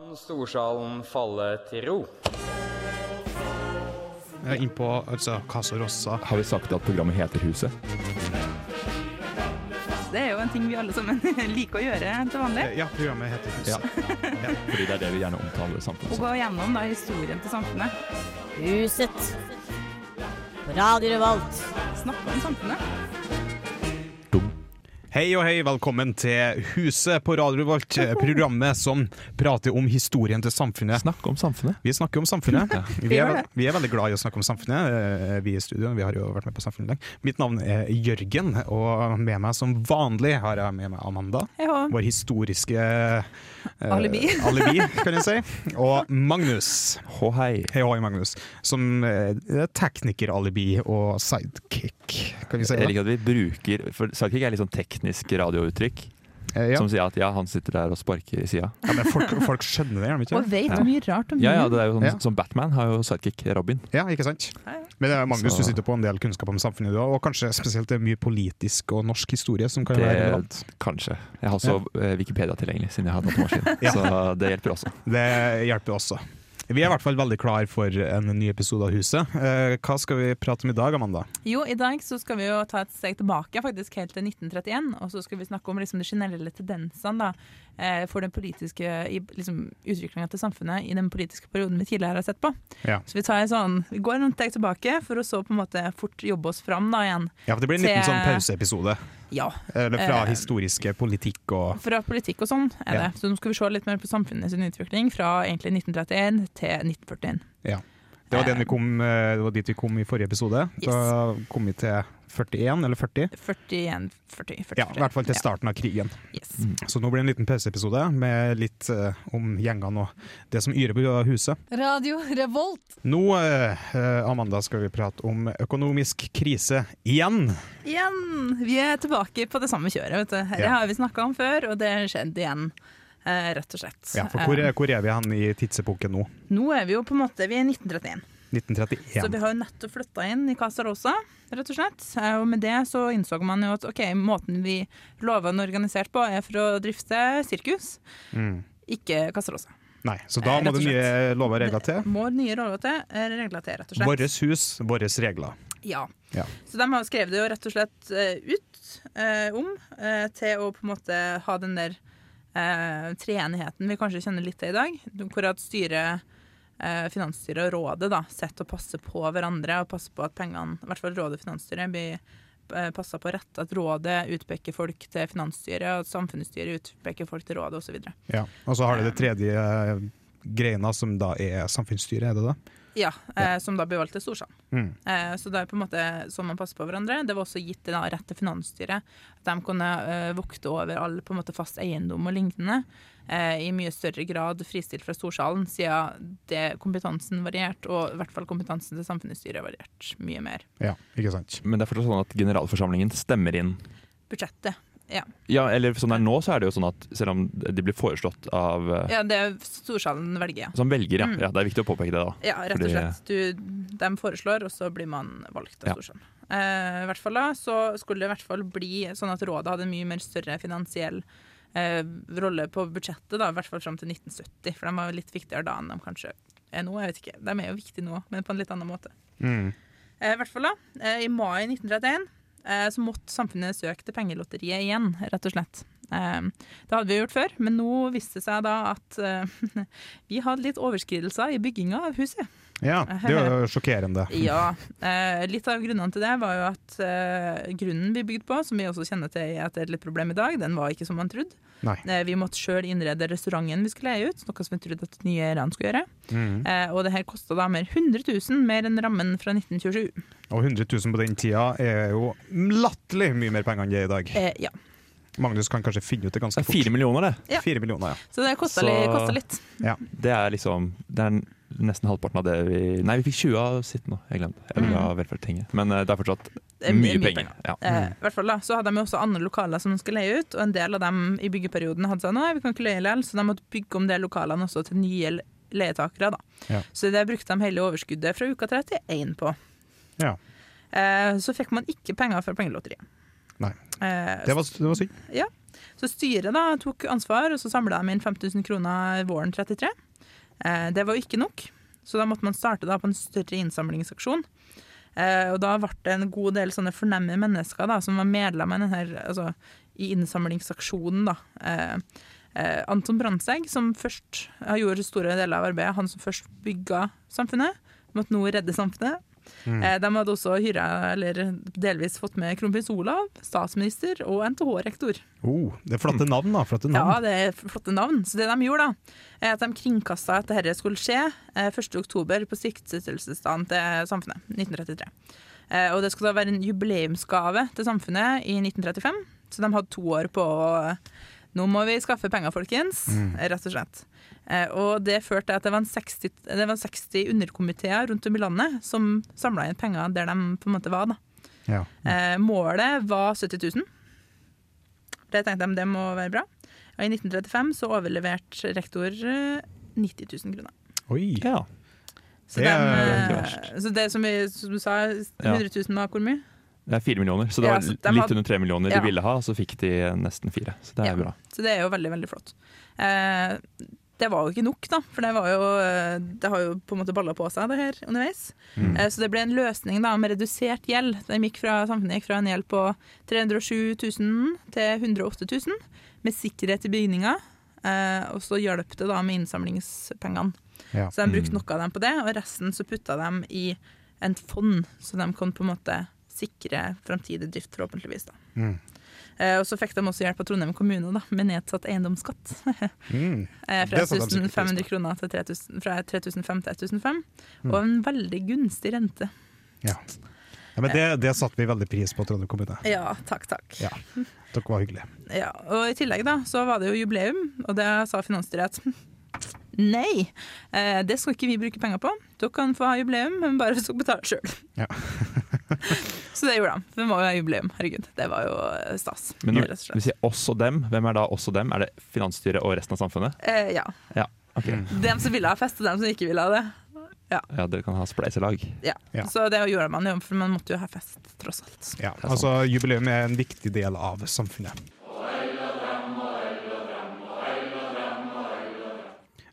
kan storsalen falle til ro. Eh, Innpå altså, Casa Rossa. Har vi sagt at programmet heter Huset? Det er jo en ting vi alle sammen liker å gjøre til vanlig. Eh, Ja, programmet heter Huset. Fordi det er det vi gjerne omtaler Å samfunnet som. gå gjennom da, historien til samfunnet. Huset. På Radio Revolt. Snakke om samfunnet. Hei og hei, velkommen til Huset på Radio Revolt, eh, programmet som prater om historien til samfunnet. Snakk om samfunnet. Vi snakker om samfunnet. Vi er, gjør vel- vi er veldig glad i å snakke om samfunnet, eh, vi i studio. Vi har jo vært med på samfunnet i dag. Mitt navn er Jørgen, og med meg som vanlig har jeg med meg Amanda. Hei hå. Vår historiske eh, Alibi. alibi, kan jeg si. Og Magnus. Hå hei. Hei og hei, Magnus. Som eh, er teknikeralibi og sidekick, kan vi si. Jeg det? liker at vi bruker For sidekick er litt sånn teknisk radiouttrykk. Eh, Ja. Som sier at ja, han sitter der og sparker i sida. Ja, men folk, folk skjønner det, gjør de ikke Og det? vet Ja. mye rart om Ja, ja, hunden. det er jo sånn Ja. som Batman har jo sidekick Robin. Ja, ikke sant? Men det er Magnus, Så- du sitter på en del kunnskap om samfunnet, du også, og kanskje spesielt det er mye politisk og norsk historie som kan Det- være relevant. Kanskje. Jeg har også eh, Wikipedia tilgjengelig, siden jeg har datamaskin. Ja. Så eh, det hjelper også. Det hjelper også. Vi er i hvert fall veldig klar for en ny episode av Huset. Eh, Hva skal vi prate om i dag, Amanda? Jo, i dag så skal vi jo ta et steg tilbake, faktisk helt til 1931. Og så skal vi snakke om liksom de generelle tendensene da, eh, for den politiske i liksom, utviklinga til samfunnet i den politiske perioden vi tidligere har sett på. Ja. Så vi, tar en sånn, vi går noen steg tilbake, for å så på en måte fort jobbe oss fram da igjen. Ja, for det blir en liten Se- sånn pauseepisode. Ja, Eller fra Eh, historiske politikk og fra politikk og sånn er Ja. det. Så nå skal vi se litt mer på samfunnets utvikling fra egentlig 1931 til 1941. Ja. Det var, den vi kom, eh, det var dit vi kom i forrige episode. Yes. Da kom vi til 41, eller 40. 41, 40, 40. Ja, I hvert fall til starten av krigen. Yes. Så nå blir det en liten pauseepisode med litt eh, om gjengene og det som yrer på huset. Radio Revolt. Nå, eh, eh, Amanda, skal vi prate om økonomisk krise igjen. Igjen! Vi er tilbake på det samme kjøret. Vet du. Her Ja. har vi snakka om før, og det skjedde igjen. eh, Rett og slett. Ja, for hvor, Eh, hvor er vi hen i tidsepoken nå? Nå er vi jo på en måte Vi er i 1931. Så 1931. vi har jo nettopp flytta inn i Casa Rosa, rett og slett. Eh, Og med det så innså man jo at OK, måten vi lovende organisert på, er for å drifte sirkus, Mm. ikke Casa Rosa. Nei, så da Eh, må rett og det nye lover og regler til. Må nye roller til, eh, regler til, rett og slett. Våres hus, våres regler. Ja. Ja. Så de har jo skrevet det jo rett og slett eh, ut eh, om eh, til å på en måte ha den der eh, treenigheten vi kanskje kjenner litt til i dag, hvor at styret eh, Finansstyret og rådet da, setter og passer på hverandre og passer på at pengene, i hvert fall rådet og finansstyret, blir eh, passet på rett. At rådet utpeker folk til finansstyret, og at samfunnsstyret utpeker folk til rådet osv. Ja. Og så har du det tredje eh, greina, som da er samfunnsstyret, er det det? Ja, eh, som da blir valgt til Storsand. Mm. Eh, så det er på en måte sånn man passer på hverandre. Det var også gitt da, rett til Finansstyret. At de kunne eh, vokte over all på en måte, fast eiendom og lignende. Eh, I mye større grad fristilt fra Storsalen, siden det, kompetansen varierte. Og i hvert fall kompetansen til samfunnsstyret varierte mye mer. Ja, ikke sant. Men det er fortsatt sånn at generalforsamlingen stemmer inn Budsjettet. Ja. Ja, eller sånn der nå så er det jo sånn at selv om de blir foreslått av eh, ja, det er Storsalen velger, ja. Som velger, ja. Mm. ja. Det er viktig å påpeke det, da. Ja, rett og Fordi- slett. Du, de foreslår, og så blir man valgt av Ja. Storsand. Eh, I hvert fall da, så skulle det i hvert fall bli sånn at rådet hadde en mye mer større finansiell eh, rolle på budsjettet, da, i hvert fall fram til 1970, for de var litt viktigere da enn de kanskje er nå. jeg vet ikke. De er jo viktige nå, men på en litt annen måte. Mm. Eh, I hvert fall da, eh, i mai 1931 eh, så måtte samfunnet søke til pengelotteriet igjen, rett og slett. Eh, Det hadde vi gjort før, men nå viste det seg da at eh, vi hadde litt overskridelser i bygginga av huset. Ja, det er jo sjokkerende. Ja. Eh, litt av grunnene til det var jo at eh, grunnen vi bygde på, som vi også kjenner til at er et litt problem i dag, den var ikke som man trodde. Nei. Eh, vi måtte sjøl innrede restauranten vi skulle leie ut, noe som vi trodde at de nye eierne skulle gjøre. Mm. Eh, og det her kosta da mer 100 000 mer enn rammen fra 1927. Og 100 000 på den tida er jo latterlig mye mer penger enn det er i dag. Eh, ja. Magnus kan kanskje finne ut det ganske Det er fort. fire millioner, det. Ja. Fire millioner, ja. Så det kosta Så- litt. kostet litt. Det er liksom Det er nesten halvparten av det vi Nei, vi fikk 20 av sitt nå. Jeg glemte. Jeg ville ha velferdstinget. Men eh, det er fortsatt Mm. Det er mye, penger. Ja. Eh, i hvert fall da, så hadde de jo også andre lokaler som de skulle leie ut, og en del av dem i byggeperioden hadde sagt nei, vi kan ikke leie likevel, så de måtte bygge om de lokalene også til nye le- leietakere. da. Ja. Så det brukte de hele overskuddet fra uka 31 på. Ja. Eh, så fikk man ikke penger fra pengelotteriet. Nei. Eh, Det var, det var synd. Ja. Så styret da tok ansvar, og så samla de inn 5000 kroner våren 33. Eh, det var jo ikke nok, så da måtte man starte da på en større innsamlingsaksjon. Eh, og da ble det en god del sånne fornemme mennesker da, som var medlemmer i denne her, altså, i innsamlingsaksjonen. da. Eh, eh, Anton Brandtzæg, som først han gjorde store deler av arbeidet, han som først bygga samfunnet, måtte nå redde samfunnet. Eh, de hadde også hyra, eller delvis fått med kronprins Olav, statsminister og NTH-rektor. Oh, det er flotte navn, da. Flotte Ja, navn. det er flotte navn. Så det de gjorde, da, er at de kringkasta at dette skulle skje eh, 1.10. på stiftelsesdagen til samfunnet, 1933. Eh, Og det skulle da være en jubileumsgave til samfunnet i 1935, så de hadde to år på å nå må vi skaffe penger, folkens. Mm. Rett og slett. Eh, Og det førte til at det var, en 60, det var 60 underkomiteer rundt om i landet som samla inn penger der de på en måte var. da. Ja. Eh, målet var 70 000. Det tenkte de, det må være bra. Og i 1935 så overleverte rektor eh, 90 000 kroner. Oi. Ja. Så, Det dem, er ikke eh, verst. så det som, vi, som du sa, 100 000 var hvor mye? Det er fire millioner, så det Ja, var så litt de hadde- under tre millioner Ja. de ville ha, og så fikk de nesten fire. Så det er Ja. bra. Så det er jo veldig, veldig flott. Eh, det var jo ikke nok, da, for det, var jo, eh, det har jo på en måte balla på seg det her underveis. Eh, så det ble en løsning da, med redusert gjeld. Den gikk fra, samfunnet gikk fra en gjeld på 307 000 til 108 000, med sikkerhet i bygninga. Eh, og så hjalp det da med innsamlingspengene. Ja. Så de brukte Mm. noe av dem på det, og resten så putta de i en fond, så de kan på en måte sikre framtidig drift, forhåpentligvis. da. Mm. Eh, og så fikk de også hjelp av Trondheim kommune da, med nedsatt eiendomsskatt. Mm. Eh, fra Det satte de sikkert 1500 kroner til 3000, fra 3005 til 1005, Mm. og en veldig gunstig rente. Ja. Ja, men det, det satte vi veldig pris på, Trondheim kommune. Ja, takk, takk. Ja. Dere var hyggelige. Ja, og I tillegg da, så var det jo jubileum, og det sa Finansstyret at nei, eh, det skal ikke vi bruke penger på. Dere kan få ha jubileum, men bare hvis dere betaler sjøl. Ja. så det gjorde de. for Vi må jo ha jubileum. Herregud, det var jo eh, stas. Men når rett og slett. vi sier oss og dem, hvem er da oss og dem? Er det finansstyret og resten av samfunnet? Eh, ja. Ja, ok. Mm. Dem som ville ha fest, og dem som ikke ville ha det. ja dere kan ha spleiselag. Ja. Ja. Så det gjorde man jo, for man måtte jo ha fest, tross alt. Ja, er sant. altså Jubileum er en viktig del av samfunnet.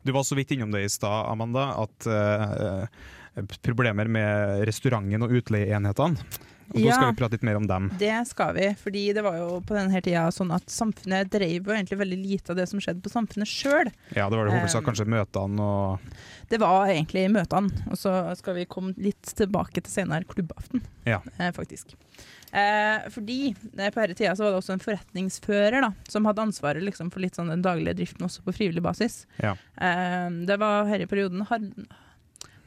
Du var så vidt innom det i stad, Amanda, at eh, problemer med restauranten og utleieenhetene. Og Da Ja. skal vi prate litt mer om dem. Det skal vi, fordi det var jo på denne tida sånn at samfunnet drev jo egentlig veldig lite av det som skjedde på samfunnet sjøl. Ja, Det var det hovedsak Um, kanskje møtene og Det var egentlig møtene, og så skal vi komme litt tilbake til senere klubbaften, Ja. eh, faktisk. Eh, fordi eh, på denne tida så var det også en forretningsfører da, som hadde ansvaret liksom, for litt sånn den daglige driften også på frivillig basis. Ja. Eh, det var her i perioden Har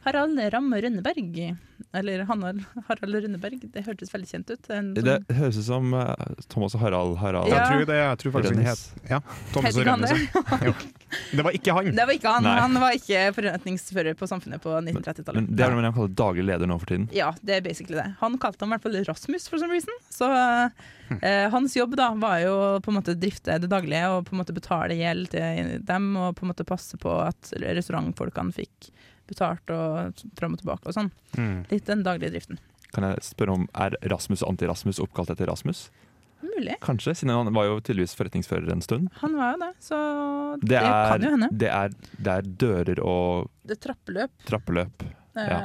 Harald Ramme Rønneberg, eller Hanal, Harald Rønneberg, det hørtes veldig kjent ut. En sånn- Det høres ut som eh, Thomas og Harald Harald. Ja. Jeg tror det, jeg tror faktisk hun het Rønnes. ja, Thomas Heter og ikke han Rønnes. Jo. Det var ikke han! Det var ikke han. Nei. Han var ikke forretningsfører på samfunnet på Men 1930-tallet. det er vel det man kaller daglig leder nå for tiden. Ja, det er basically det. Han kalte ham i hvert fall Rasmus for some reason. Så eh, hans jobb da var jo på en måte å drifte det daglige og på en måte betale gjeld til dem og på en måte passe på at restaurantfolkene fikk betalt og fram og tilbake og sånn. Mm. Litt den daglige driften. Kan jeg spørre om er Rasmus og Anti-Rasmus oppkalt etter Rasmus? Mulig. Kanskje, siden han var jo tydeligvis forretningsfører en stund. Han var jo det, så det, Det er, kan jo hende. det er, det er dører og Det er trappeløp. Eh, trappeløp. Ja.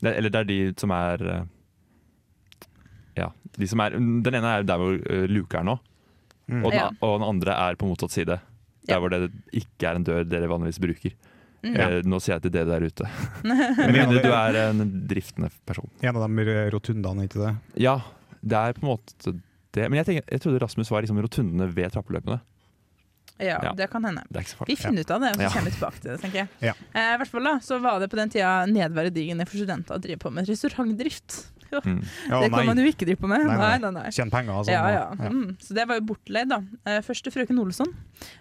Det, eller det er de som er eh, Ja. De som er, den ene er der hvor eh, luke er nå, Mm. og den, Ja. og den andre er på motsatt side. Ja. Der hvor det ikke er en dør dere vanligvis bruker. Mm. Eh, nå sier jeg til dere der ute. Men en av Med mindre de- du er en driftende person. En av de rotundene, ikke det? Ja, det er på en måte det. Men jeg, tenker, jeg trodde Rasmus var liksom rotundene ved trappeløpene. ja, Ja. det kan hende. Det er ikke så Vi farlig. finner ut av det, og så Ja. kommer vi tilbake til det. tenker jeg. Ja. Eh, I hvert fall da, så var det på den tida nedverdigende for studenter å drive på med restaurantdrift. Mm. Ja, det kan man nei. jo ikke drive på med. Nei, Nei, nei. nei, nei. Tjene penger og sånn. Ja, ja. Ja. Mm. Så det var jo bortleid, da. Eh, Første frøken Olsson,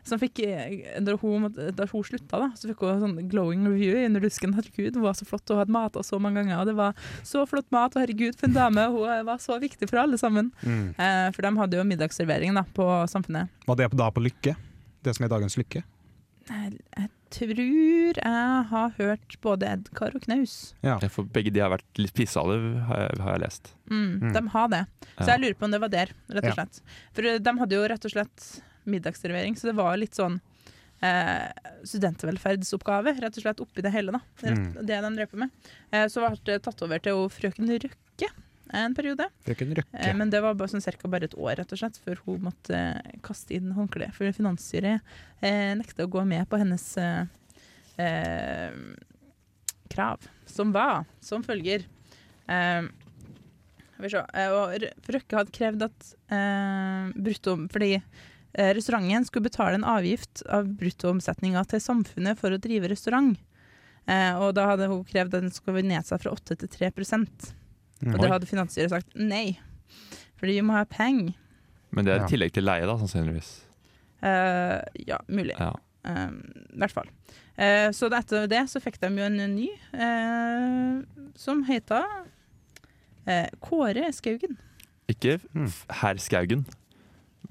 som fikk eh, Da hun, måtte- da hun slutta, da, så fikk hun sånn glowing review under dusken. Herregud, hun var så flott, og hun hadde mata så mange ganger. Og det var så flott mat, og herregud, for en dame. Hun eh, var så viktig for alle sammen. Mm. Eh, For de hadde jo middagsservering da, på Samfunnet. Var det da på Lykke? Det som er dagens Lykke? Jeg, Eh, jeg tror jeg har hørt både Edgar og Knaus. Ja. Ja, For begge de har vært litt pissealv, har, jeg- har jeg lest. Mm, Mm. De har det. Så Ja. jeg lurer på om det var der, rett Ja. og slett. For eh, de hadde jo rett og slett middagsservering. Så det var litt sånn eh, studentvelferdsoppgave, rett og slett, oppi det hele. da. Rett, Det de drev på med. Eh, så ble det tatt over til hun frøken Røkke en periode. Frøken Eh, Røkke. Men det var bare, sånn, cirka bare et år rett og slett, før hun måtte eh, kaste inn håndkleet. For finansstyret eh, nekta å gå med på hennes eh, eh, krav, som var som følger. Eh, skal vi se. Eh, og R- Røkke hadde krevd at eh, brutto Fordi eh, restauranten skulle betale en avgift av bruttoomsetninga til samfunnet for å drive restaurant. Eh, og da hadde hun krevd at den skulle være nedsatt fra 8 til 3 Mm. Oi. Og det hadde finansstyret sagt nei. Fordi vi må ha penger. Men det er Ja. i tillegg til leie, da, sannsynligvis. Eh, ja, mulig. Ja. Eh, I hvert fall. Eh, så det- etter det så fikk de jo en ny, eh, som heter eh, Kåre Skaugen. Ikke f- Mm. herr Skaugen,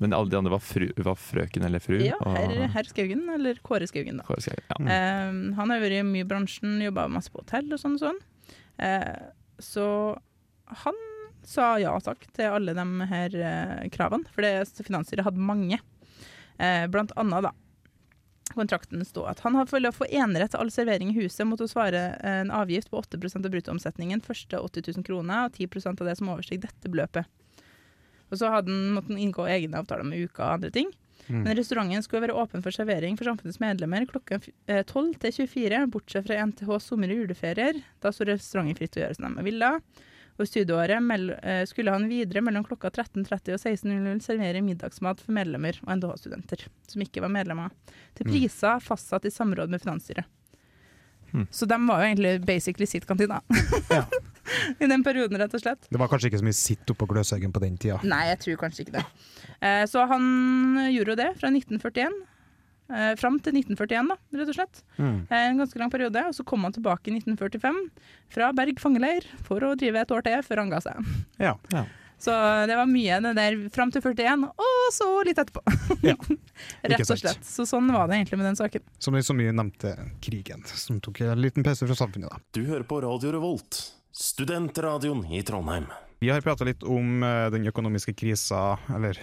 men alle de andre var, fru, var frøken eller fru. Ja, og- herr herr Skaugen, eller Kåre Skaugen, da. Kåre Skaugen, ja. Eh, han har vært mye i bransjen, jobba masse på hotell og sånn og sånn. Eh, så han sa ja takk til alle de her eh, kravene, for det finansstyret hadde mange. Eh, blant annet, da. Kontrakten sto at han har for å få enerett til all servering i huset måtte hun svare eh, en avgift på 8 av bruttoomsetningen, første 80 000 kroner, og 10 av det som oversteg dette beløpet. Og så hadde han måttet inngå egne avtaler med uka og andre ting. Mm. Men restauranten skulle være åpen for servering for samfunnets medlemmer klokka f- eh, 12 til 24, bortsett fra NTH sommer- og juleferier. Da sto restauranten fritt til å gjøre som de ville. Og i studieåret mell eh, skulle han videre mellom klokka 13.30 og 16.00 servere middagsmat for medlemmer og NTH-studenter som ikke var medlemmer, til Mm. priser fastsatt i samråd med finansstyret. Hmm. Så de var jo egentlig basically sitt kantina Hm. Ja. i den perioden, rett og slett. Det var kanskje ikke så mye sitt oppå Gløshaugen på den tida. Nei, jeg tror kanskje ikke det. Eh, så han gjorde jo det fra 1941. Eh, fram til 1941, da, rett og slett. Mm. Eh, en ganske lang periode. Og så kom han tilbake i 1945 fra Berg fangeleir for å drive et år til før han ga seg. Ja. Så det var mye det der fram til 41, og så litt etterpå. Ja, Rett og sant. slett. Så sånn var det egentlig med den saken. Som de så mye nevnte krigen, som tok en liten pause fra samfunnet, da. Du hører på Radio Revolt, studentradioen i Trondheim. Vi har prata litt om eh, den økonomiske krisa, eller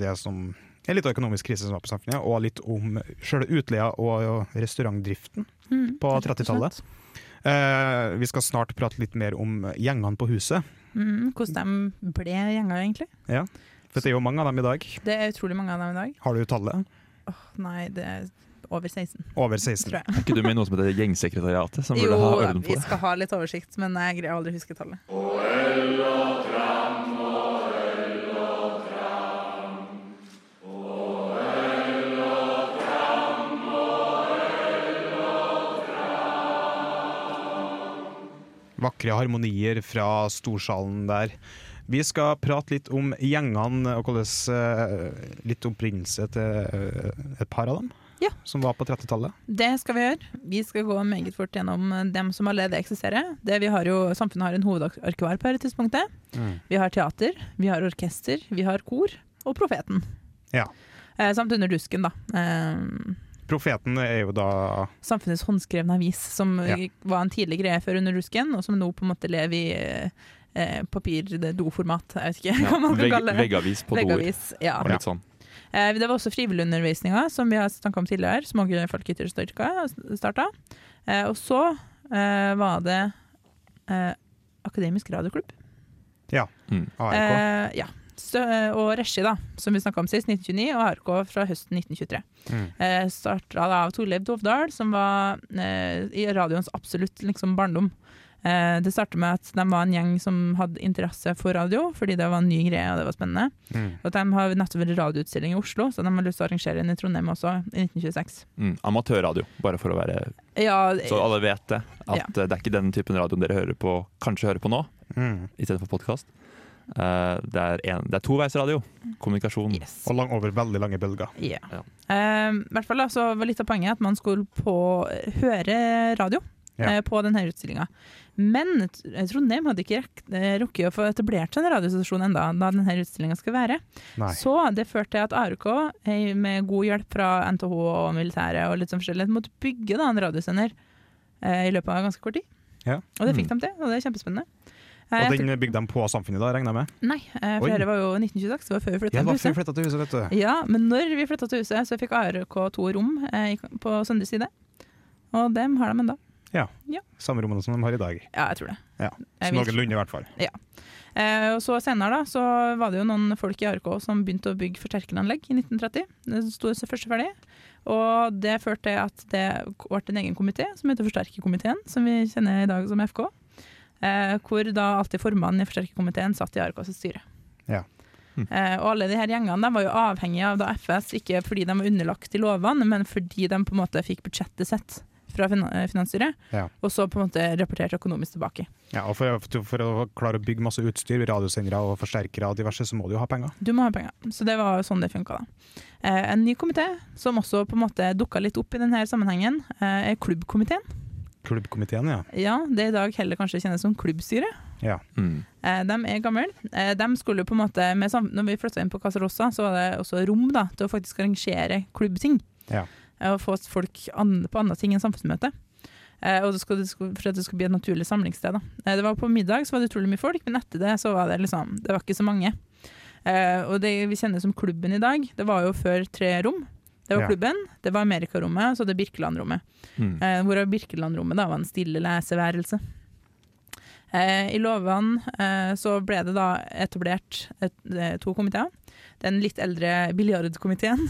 det som er litt av økonomisk krise som var på samfunnet, og litt om sjøle utleia og restaurantdriften Mm. på 30-tallet. Eh, vi skal snart prate litt mer om gjengene på huset, Mm, hvordan de ble gjenger, egentlig. for det er jo mange av dem i dag. Det er utrolig mange av dem i dag. Har du tallet? Åh, nei, det er over 16, Over 16. tror jeg. Er ikke du med i noe som heter Gjengsekretariatet, som burde Jo, ha da, orden på vi det? skal ha litt oversikt, men jeg greier aldri å huske tallet. Vakre harmonier fra storsalen der. Vi skal prate litt om gjengene og hvordan eh, Litt opprinnelse til eh, et par av dem Ja. som var på 30-tallet. Det skal vi gjøre. Vi skal gå meget fort gjennom eh, dem som allerede eksisterer. Det vi har jo, samfunnet har en hovedarkivar på dette tidspunktet. Mm. Vi har teater, vi har orkester, vi har kor og Profeten. Ja. Eh, samt Under dusken, da. Eh, Profeten er jo da samfunnets håndskrevne avis, som eh, var en tidlig greie før Under dusken, og som nå på en måte lever i eh, eh, papir-do-format. Jeg vet ikke hva man kan Vegg, kalle det. veggavis på doer. Veggavis. Ja. Og litt sånn. Eh, Det var også frivilligundervisninga, som vi har snakka om tidligere. Som også folk ytterst starta. Eh, Og så eh, var det eh, Akademisk radioklubb. Mm. ARK. Eh, ja. Stø og regi, da, som vi snakka om sist, 1929, og ARK fra høsten 1923. Mm. Eh, Starta da av Torleiv Dovdal, som var eh, i radioens absolutt liksom, barndom. Eh, det starta med at de var en gjeng som hadde interesse for radio, fordi det var en ny greie, og det var spennende. Mm. Og de har nettopp vært radioutstilling i Oslo, så de har lyst til å arrangere en i Trondheim også, i 1926. Mm. Amatørradio, bare for å være Ja, Så alle vet det. At Ja. eh, det er ikke den typen radioen dere hører på, kanskje hører på nå, Mm. istedenfor podkast. Uh, det er, en- det er toveisradio. Mm. Kommunikasjon. yes. Og lang, over veldig lange bølger. Ja. Ja. Eh, I hvert fall da, så var litt av poenget at man skulle på, høre radio Ja. eh, på denne utstillinga. Men t- Trondheim hadde ikke rekt- eh, rukket å få etablert seg en radiostasjon enda da denne utstillinga skal være. Nei. Så det førte til at ARK, eh, med god hjelp fra NTH og militæret, og litt sånn forskjellig, måtte bygge da, en radiosender eh, i løpet av ganske kort tid. Ja. Mm. Og det fikk de til, og det er kjempespennende. Eh, Og jeg den bygde de på samfunnet da, regner jeg med? tenk- Nei, eh, for Oi. dette var jo 1926, det var før vi flytta Jeg til var huset. flytta til huset, vet du. Ja, men når vi flytta til huset, så fikk ARK to rom eh, i- på søndre side. Og dem har de ennå. Samme rommene som de har i dag. Ja, jeg tror det. Ja, Jeg Så vil- Noenlunde, i hvert fall. Eh, og så senere da, så var det jo noen folk i ARK som begynte å bygge forsterkeranlegg i 1930. Det sto så først ferdig. Og det førte til at det ble en egen komité som heter Forsterkerkomiteen, som vi kjenner i dag som FK. Eh, hvor da alltid formannen i forsterkerkomiteen satt i ARK sitt styre. Ja. Hm. Eh, og alle de her gjengene de var jo avhengige av da FS, ikke fordi de var underlagt i lovene, men fordi de på en måte fikk budsjettet sitt fra fin eh, finansstyret, Ja. og så på en måte rapporterte økonomisk tilbake. Ja, og for, for å klare å bygge masse utstyr, radiosendere og forsterkere og diverse, så må du jo ha penger. Du må ha penger. Så det var jo sånn det funka, da. Eh, en ny komité som også på en måte dukka litt opp i denne sammenhengen, eh, er klubbkomiteen. Klubbkomiteen, ja. Ja, det i dag heller kanskje kjennes som klubbstyret. Mm. Eh, de er gamle. Eh, de skulle jo på en måte med sam Når vi flytta inn på Casarossa, så var det også rom da, til å faktisk arrangere klubbting. Ja. Eh, og få folk an på andre ting enn samfunnsmøte. Eh, og det skulle, det skulle, for at det skulle bli et naturlig samlingssted. Da. Eh, det var På middag så var det utrolig mye folk, men etter det så var det liksom Det var ikke så mange. Eh, og det vi kjenner som klubben i dag, det var jo før tre rom. Det var Ja. klubben, det var Amerikarommet, og så det Birkeland-rommet. Mm. Eh, hvorav Birkelandrommet da var en stille leseværelse. Eh, I Låvan eh, så ble det da etablert et, eh, to komiteer. Den litt eldre biljardkomiteen,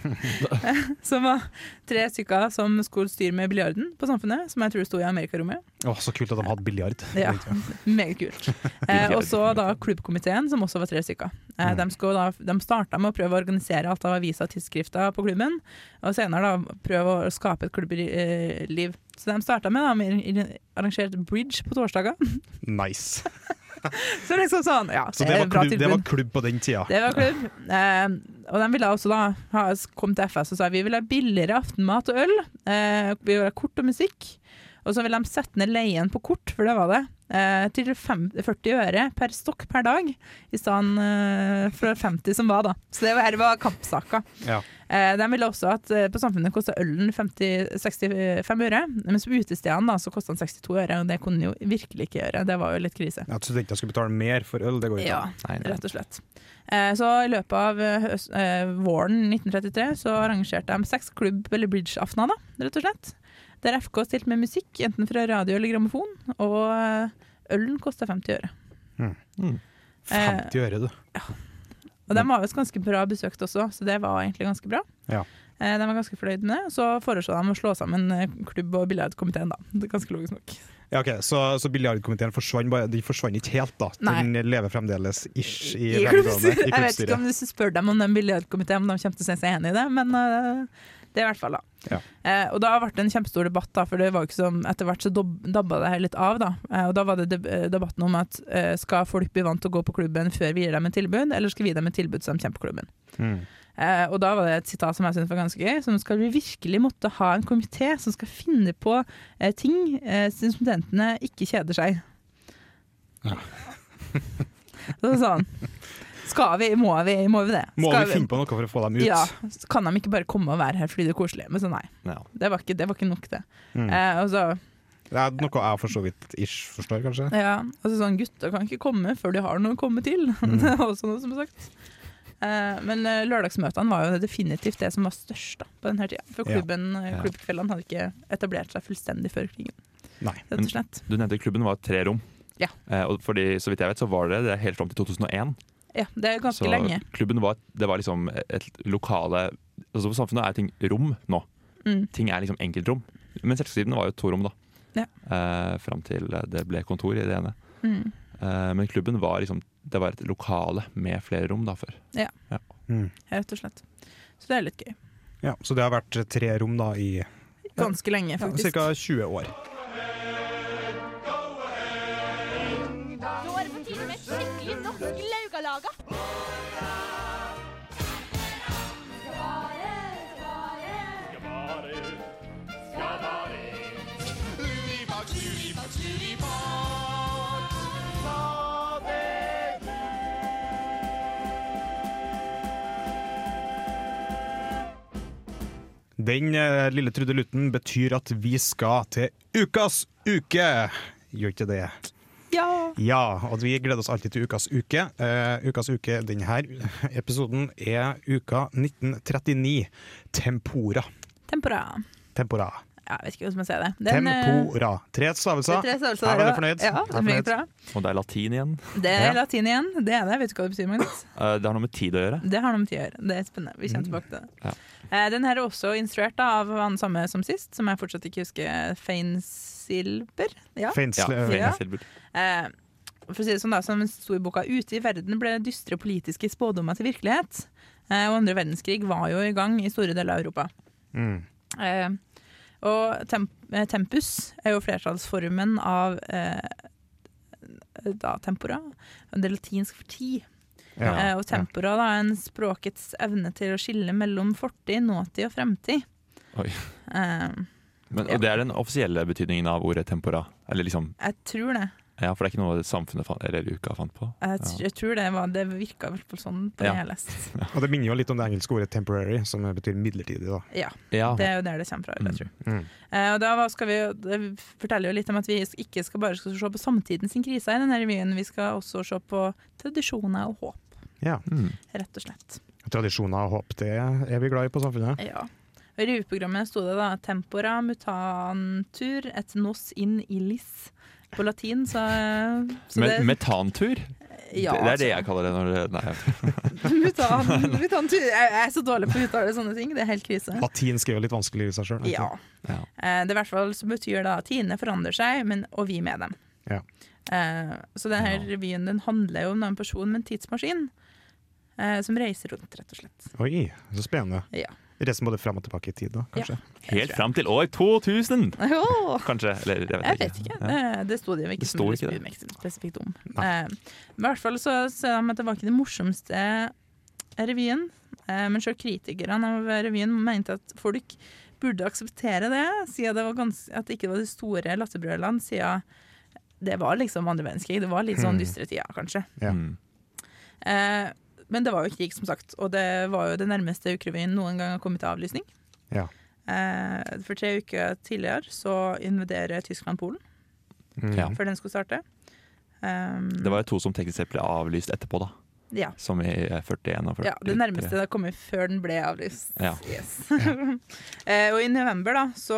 eh, som var tre stykker som skulle styre med biljarden på Samfunnet, som jeg tror sto i Amerikarommet. Å, så kult at de hadde biljard. Ja. Meget kult. Eh, og så da klubbkomiteen, som også var tre stykker. Mm. Eh, de, skulle da, de starta med å prøve å organisere alt av aviser og tidsskrifter på klubben, og senere da prøve å skape et klubbliv. Så de starta med da, med arrangert bridge på torsdager. Nice. Så liksom sånn, ja, Så det eh, var, bra klubb, det tilbud. var klubb på den tida. Det var klubb. Eh, og de ville også da ha, kom til FS og sa vi vil ha billigere aftenmat og øl. Eh, vi vil ha kort og musikk. Og så ville de sette ned leien på kort, for det var det, eh, til fem, 40 øre per stokk per dag, i stedet eh, for 50 som var da. Så det var, her var kampsaker. Ja. Eh, de ville også at eh, på Samfunnet kosta ølen 50, 65 øre, mens på utestedene da, så kosta den 62 øre, og det kunne den jo virkelig ikke gjøre. Det var jo litt krise. At studenter skulle betale mer for øl, det går jo ikke. Ja, Nei, nei. rett og slett. Eh, Så i løpet av eh, høst, eh, våren 1933 så arrangerte de seks klubb- eller bridge-aftener, da, rett og slett. Der FK stilte med musikk, enten fra radio eller grammofon, og eh, ølen kosta 50 øre. Mm. eh, 50 øre, du. Og de var visst ganske bra besøkt også, så det var egentlig ganske bra. Ja. Eh, De var ganske fornøyd med det. Så foreslo de å slå sammen eh, klubb- og billedkomiteen, da. Det er ganske logisk nok. Ja, ok, Så, så biljardkomiteen forsvant bare, de forsvant ikke helt, da. Den lever fremdeles ish i, I velgående- i klubbstyret. Jeg vet ikke om klubbstyret. du spør dem om den billedkomiteen, om de kommer til å se seg enig i det, men eh, det er i hvert fall da. Ja. Eh, og da ble det en kjempestor debatt, da, for det var jo ikke som, etter hvert så dob- dabba det her litt av. Da. Eh, og da var det deb eh, debatten om at eh, skal folk bli vant til å gå på klubben før vi gir dem et tilbud, eller skal vi gi dem et tilbud som kommer på klubben? Mm. Eh, og da var det et sitat som jeg syntes var ganske gøy. Som skal vi virkelig måtte ha en komité som skal finne på eh, ting eh, siden studentene ikke kjeder seg. Ja. så sa han Skal vi, må vi, må vi det? Må skal vi finne på noe for å få dem ut? Ja, så kan de ikke bare komme og være her fordi det er koselig? Men så nei, Ja. det var ikke, det var ikke nok, det. Mm. Eh, og så, Det er noe jeg for så vidt ish forstår, kanskje. ja, og så sånn, gutter kan ikke komme før de har noe å komme til. Mm. det er også noe som er sagt. Eh, men eh, lørdagsmøtene var jo definitivt det som var størst da, på denne tida. For Ja. klubben, eh, Ja. klubbkveldene hadde ikke etablert seg fullstendig før krigen, Nei. rett og slett. Du nevnte klubben var tre rom. Ja. Eh, og fordi, så vidt jeg vet, så var det det helt fram til 2001. Ja, det er ganske så lenge. klubben var, det var liksom et lokale altså På samfunnet er ting rom nå. Mm. Ting er liksom enkeltrom. Men selvsiden var jo to rom, da. Ja. Eh, fram til det ble kontor i det ene. Mm. Eh, men klubben var liksom Det var et lokale med flere rom da før. Mm. Rett og slett. Så det er litt gøy. Ja, så det har vært tre rom da i Ganske lenge, faktisk. ca. 20 år. Nå er det på tide med et skikkelig norsk laugalaga. Den eh, lille trudelutten betyr at vi skal til ukas uke. Gjør ikke det? Ja! Ja, og vi gleder oss alltid til Ukas uke. Eh, ukas uke denne episoden er uka 1939. Tempora. Tempora. Tempora. Ja, jeg vet ikke hvordan man sier det. Det er en, eh, Tempora. Tre det stavelser. er tre størrelser Her der var også. du fornøyd. Her Ja, det er fornøyd. meget bra. Og det er latin igjen. Det er Ja. latin igjen. Det er det. Vet du hva det betyr, Magnus? Eh, Det har noe med tid å gjøre. Det har noe med tid å gjøre. Det er spennende. Vi kommer tilbake til det. Eh, Den her er også instruert da, av han samme som sist, som jeg fortsatt ikke husker. Fein Silber? Ja. Fins, Ja, eh, Ja. Filbert. Eh, for å si det sånn da, Som sto i boka 'Ute i verden ble dystre politiske spådommer til virkelighet'. Eh, og andre verdenskrig var jo i gang i store deler av Europa. Mm. Eh, og temp eh, tempus er jo flertallsformen av eh, da, tempora. Det er latinsk for tid. Ja, Eh, og tempora da, er en språkets evne til å skille mellom fortid, nåtid og fremtid. Oi. Eh, Men og det er den offisielle betydningen av ordet tempora. Eller liksom, jeg tror det. ja, For det er ikke noe samfunnet fant, eller uka fant på. Jeg, tr- jeg tror det, var, det virka i hvert fall sånn på Ja. det jeg leste. Og det minner jo litt om det engelske ordet 'temporary', som betyr midlertidig. da. Ja. Ja, Det er jo der det kommer fra. vil Jeg tror. Mm. Eh, og da var- skal vi, jo- Det forteller jo litt om at vi ikke skal bare skal se på samtiden sin krise i denne revyen, vi skal også se på tradisjoner og håp, Ja. mm. rett og slett. Tradisjoner og håp, det er vi glad i på samfunnet. Ja. Og I revyprogrammet sto det da 'Tempora mutantur et nos in illis' på latin, så, så Men det- metantur? ja, det, altså. det er det jeg kaller det. når det nei, jeg- Mutan, mutantur. Jeg jeg er så dårlig på å uttale sånne ting, det er helt krise. Latinsk er jo litt vanskelig i seg sjøl. Ja. Ja. Eh, Det er i hvert fall så betyr da at tidene forandrer seg, men, og vi med dem. Ja. Eh, Så denne revyen den handler jo om en person med en tidsmaskin eh, som reiser rundt, rett og slett. Oi, så spennende. Ja. Resten både fram og tilbake i tid, da, kanskje. Helt fram til år 2000! Åh, Kanskje. Eller jeg vet Jeg ikke. vet ikke. Det, det sto det jo ikke, Det så sto mye ikke det. spesifikt- spesifikt om. Eh, Men i hvert fall så ser de at det var ikke det morsomste revyen. Eh, Men selv kritikerne av revyen mente at folk burde akseptere det, siden det var gans at det ikke var de store latterbrølene, siden det var liksom andre verdenskrig. Det var litt Hmm. sånn dystre tider, kanskje. Ja. Mm. Eh, Men det var jo krig, som sagt, og det var jo det nærmeste ukerevyen noen gang har kommet til avlysning. Ja. Eh, For tre uker tidligere så invaderer Tyskland Polen Mm. Ja. før den skulle starte. Um, Det var jo to som teknisk sett ble avlyst etterpå, da. ja. Som i eh, 41 og 43. ja, det nærmeste det har kommet før den ble avlyst. Ja. Yes. Eh, og i november da, så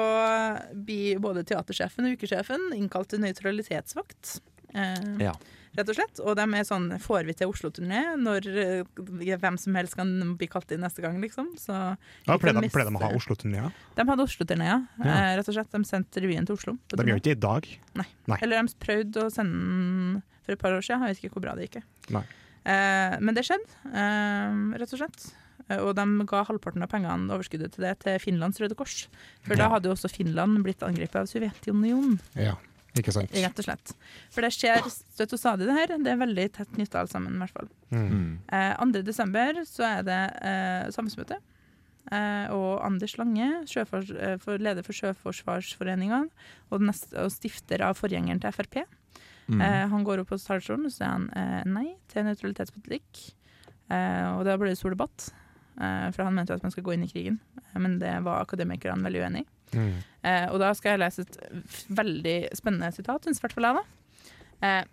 blir både teatersjefen og ukesjefen innkalt til nøytralitetsvakt. eh, Ja. Rett og slett. Og de er sånn Får vi til Oslo-turné når eh, hvem som helst kan bli kalt inn neste gang, liksom? Så Ja, ikke pleier, de, miste- pleier de å ha Oslo-turné? De hadde Oslo-turné, ja. Ja. Eh, rett og slett. De sendte revyen til Oslo. på De turné. gjør ikke det i dag. Nei. Eller de prøvde å sende den for et par år siden. Jeg vet ikke hvor bra det gikk. Nei. Eh, men det skjedde, eh, rett og slett. Eh, Og de ga halvparten av pengene, overskuddet til det, til Finlands Røde Kors. For da Ja. hadde jo også Finland blitt angrepet av Sovjetunionen, Ja, ikke sant. rett og slett. For det skjer støtt og stadig, det her. Det er veldig tett nytte alt sammen, i hvert fall. Mm. Eh, 2. desember så er det eh, samfunnsmøte. Eh, og Anders Lange, sjøfors, eh, for, leder for Sjøforsvarsforeningen og, den neste, og stifter av forgjengeren til Frp, Mm. eh, han går opp på talerstolen og sier han eh, nei til nøytralitetspolitikk. Eh, og da ble det stor debatt, eh, for han mente jo at man skal gå inn i krigen. Eh, men det var akademikerne veldig uenig i. Mm. Eh, og da skal jeg lese et f- veldig spennende sitat, syns i hvert fall jeg, da. Eh,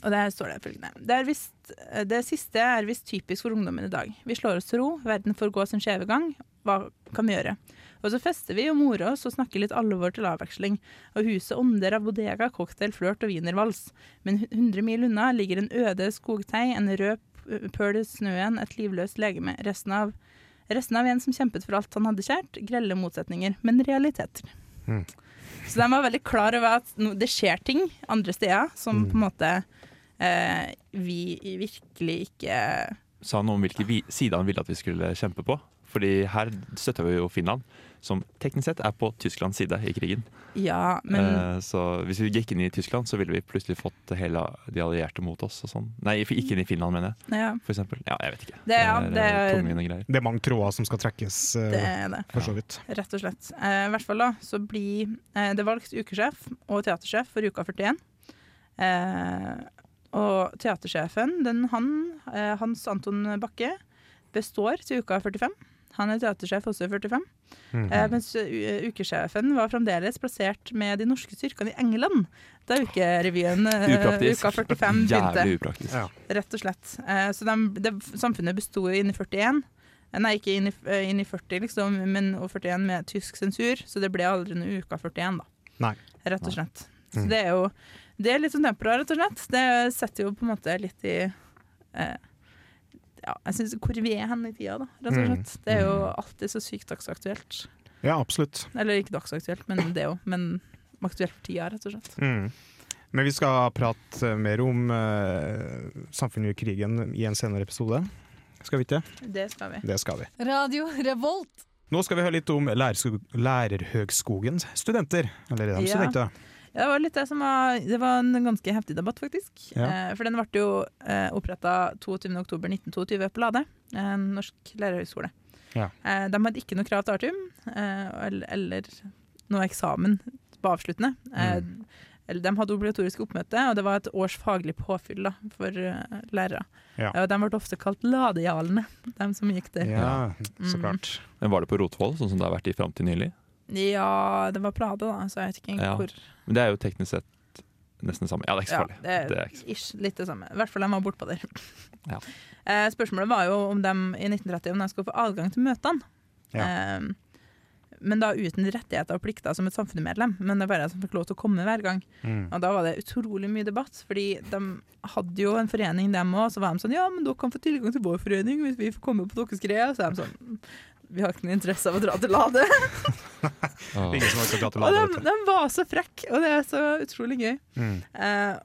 og der står det følgende. Det, er visst, eh, det siste er visst typisk for ungdommen i dag. Vi slår oss til ro, verden får gå sin skjeve gang. Hva kan vi gjøre? Og så fester vi og morer oss og snakker litt alvor til avveksling. Og huset ånder av bodega, cocktail, flørt og wienervals. Men hu- 100 mil unna ligger en øde skogtei, en rød p- pøl i snøen, et livløst legeme. Resten av Resten av en som kjempet for alt han hadde kjært, grelle motsetninger, men realiteter. Mm. Så de var veldig klar over at no, det skjer ting andre steder som på en måte eh, vi virkelig ikke Sa han noe om hvilke vi- side han ville at vi skulle kjempe på? Fordi her støtter vi jo Finland, som teknisk sett er på Tysklands side i krigen. Ja, men Eh, Så hvis vi gikk inn i Tyskland, så ville vi plutselig fått hele de allierte mot oss. Og sånn. Nei, vi gikk inn i Finland, mener jeg. ja, For eksempel. Ja, jeg vet ikke. Det er- ja, det er det er- tungvinte greier. Det er mange tråder som skal trekkes, eh, det er det. for så vidt. Rett og slett. Eh, I hvert fall da, så blir eh, det valgt ukesjef og teatersjef for uka 41. Eh, og teatersjefen, den han, eh, Hans Anton Bakke, består til uka 45. Han er teatersjef, også i 45. Mhm. Eh, mens u- ukesjefen var fremdeles plassert med de norske styrkene i England da ukerevyen eh, Upraktisk. uka 45 begynte. Jævlig upraktisk. Ja. Rett og slett. Eh, så dem- det, samfunnet besto jo inn i 41. Eh, Nei, ikke inn i, eh, inn i 40, liksom, men og 41 med tysk sensur. Så det ble aldri noe uka 41, da. Nei. Mm. Rett og Nei. slett. Så det er jo det er litt sånn temporar, rett og slett. Det setter jo på en måte litt i eh, ja, jeg synes Hvor vi er hen i tida, da, rett og Mm. slett. Det er jo alltid så sykt dagsaktuelt. Ja, absolutt. Eller ikke dagsaktuelt, men det òg. Men aktuelt for tida, rett og slett. Mm. Men vi skal prate mer om eh, samfunnet i krigen i en senere episode. Skal vi ikke? Det skal vi. Det skal vi. Radio Revolt. Nå skal vi høre litt om lærersko- Lærerhøgskogens studenter. Eller de Ja. studenter. Ja, Det var litt det som var Det var en ganske heftig debatt, faktisk. Ja. Eh, for den ble jo eh, oppretta 22.10.1922 på Lade, en norsk lærerhøgskole. Ja. Eh, de hadde ikke noe krav til artium, eh, eller, eller noe eksamen på avsluttende. Eh, Mm. eller De hadde obligatorisk oppmøte, og det var et års faglig påfyll da, for eh, lærere. Ja. Eh, og de ble ofte kalt ladejalene, de som gikk der. Ja, Mm. så klart. Men var det på Rotvoll, sånn som det har vært i fram til nylig? Ja, det var Prade, da, så jeg vet ikke Ja. hvor. Men det er jo teknisk sett nesten det samme. Ja, det er ikke så farlig. Ja, det Det er er ikke så ish, litt det samme. I hvert fall de var bortpå der. Ja. Eh, spørsmålet var jo om de i 1930 om de skulle få adgang til møtene. Ja. Eh, men da uten rettigheter og plikter som et samfunnsmedlem. Men det er bare jeg som fikk lov til å komme hver gang. Mm. Og da var det utrolig mye debatt, fordi de hadde jo en forening dem òg. Så var de sånn Ja, men dere kan få tilgang til vår forening hvis vi får komme på deres greier. Så er de sånn Vi har ikke noe interesse av å dra til Lade. Åh. Ingen som har sagt ja til Og alle. de, de var så frekke, og det er så utrolig gøy. Mm. Eh,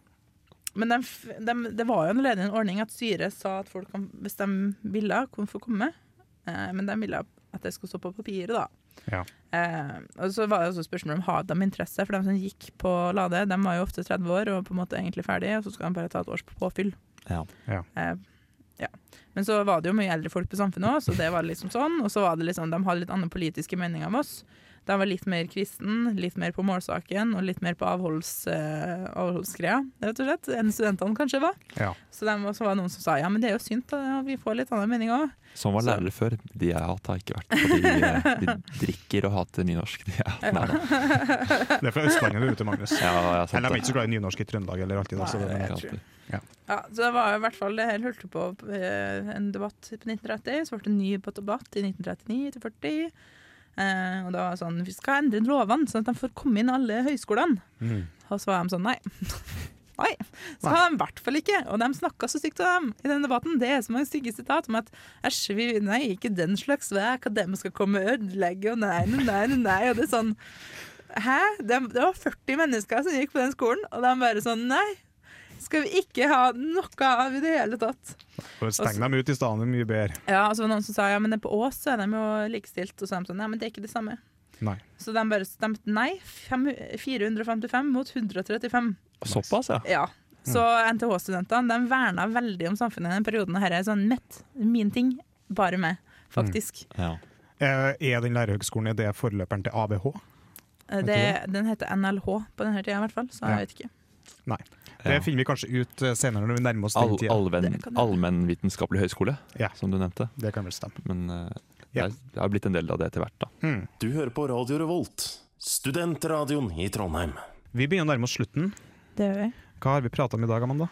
men dem f- dem- det var jo en ledende ordning at styret sa at folk, kan, hvis de ville, kunne få komme. Eh, men de ville at det skulle stå på papiret, da. Ja. Eh, og så var det også spørsmålet om hadde de interesse, for de som gikk på Lade, de var jo ofte 30 år og på en måte egentlig ferdig, og så skal de bare ta et års påfyll. Ja. Ja. Eh, ja. Men så var det jo mye eldre folk på samfunnet òg, så det var liksom sånn. Og så var det liksom, de hadde litt andre politiske meninger om oss. De var litt mer kristen, litt mer på målsaken og litt mer på avholds, eh, avholdsgreia, rett og slett, enn studentene kanskje var. Ja. Så dem- så var det noen som sa ja, men det er jo synd, da, vi får litt annen mening òg. Sånn var Så- lærere før. De jeg har hatt, har ikke vært fordi eh, de drikker og hater nynorsk. De jeg har hatt. Nei, da. Det er fra Østlandet du er ute, Magnus. ja, ja, sant Eller de er det. ikke så glad i nynorsk i Trøndelag eller alltid. altså, da, så det- Jeg Nei, har tror hatt det. Ja, så det var jo i hvert fall det hele hørte på eh, en debatt på 1930, så ble det en ny debatt i 1939 til 40. Eh, og da var det sånn, vi skal endre lovene sånn at de får komme inn alle høyskolene. Mm. Og så var de sånn, nei. Nei, så har de i hvert fall ikke. Og de snakka så stygt om dem i den debatten. Det er så mange stygge sitat om at æsj, vi, nei, ikke den slags, hva er akademisk å komme og ødelegge, og nei, nei, nei, nei. Og det er sånn Hæ? Det, det var 40 mennesker som gikk på den skolen, og de bare sånn Nei, skal vi ikke ha noe av i det hele tatt. For Steng dem ut i stedet, det er mye bedre. Ja, og så var det noen som sa ja, men det på Ås så er de jo likestilt, og så er de sånn ja, men det er ikke det samme. Nei. Så de bare stemte nei. Fem, 455 mot 135. Såpass, ja. Ja. Så NTH-studentene de verna veldig om samfunnet i den perioden. Og her er sånn mitt, min ting, bare meg, faktisk. ja. Eh, Er den lærerhøgskolen er det forløperen til ABH? Eh, Det, den heter NLH på denne tida i hvert fall, så Ja. jeg vet ikke. Det finner vi kanskje ut eh, senere når vi nærmer oss All, den tida. allven, Det kan det. Allmennvitenskapelig høyskole, Ja. som du nevnte. Det kan vel stemme. Men eh, det, Ja. er, det har blitt en del av det etter hvert, da. Mm. Du hører på Radio Revolt, studentradioen i Trondheim. Vi begynner å nærme oss slutten. Det gjør vi. Hva har vi prata om i dag, Amanda?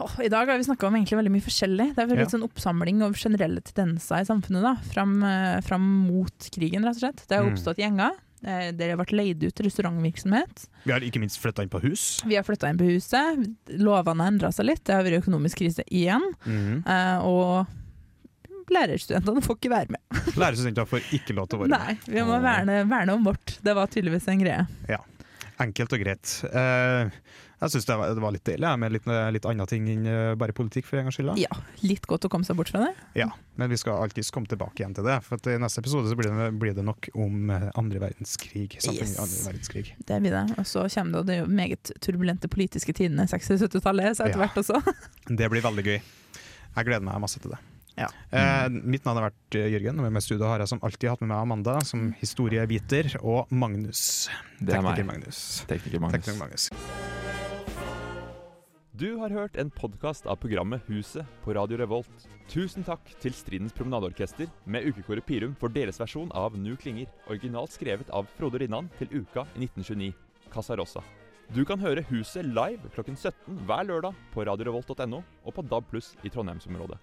Åh, I dag har vi snakka om egentlig veldig mye forskjellig. Det har vært Ja. litt sånn oppsamling over generelle tendenser i samfunnet da, fram, eh, fram mot krigen, rett og slett. Det har Mm. oppstått gjenger. eh, Det har vært leid ut restaurantvirksomhet. Vi har ikke minst flytta inn på hus. Vi har flytta inn på huset. Lovene har endra seg litt. Det har vært økonomisk krise igjen. Mm. eh, Og lærerstudentene får ikke være med. Lærerstudenter får ikke lov til å være med. Nei, vi må verne, verne om vårt. Det var tydeligvis en greie. Enkelt og greit. Eh, jeg syns det, var- det var litt deilig jeg, med litt, litt andre ting enn eh, bare politikk, for en gangs skyld. da. Ja. Litt godt å komme seg bort fra det. Ja, men vi skal alltids komme tilbake igjen til det. For at i neste episode så blir det, blir det nok om eh, andre verdenskrig. Samfunnet i Yes. andre verdenskrig. Det blir det. Og så kommer det, og det er jo meget turbulente politiske tidene 60- og 70-tallet, så etter Ja. hvert også. Det blir veldig gøy. Jeg gleder meg masse til det. Eh, mitt navn har vært eh, Jørgen, og med meg i studio har jeg som alltid hatt med meg Amanda, som historieviter, og Magnus. Mm. Det er Tekniker meg. Magnus. Tekniker Magnus. Tekniker Magnus. Du har hørt en podkast av programmet Huset på Radio Revolt. Tusen takk til Stridens Promenadeorkester med ukekoret Pirum for deres versjon av Nu klinger, originalt skrevet av Frode Rinnan til uka i 1929, Casarossa. Du kan høre Huset live klokken 17 hver lørdag på radiorevolt.no og på DAB pluss i Trondheimsområdet.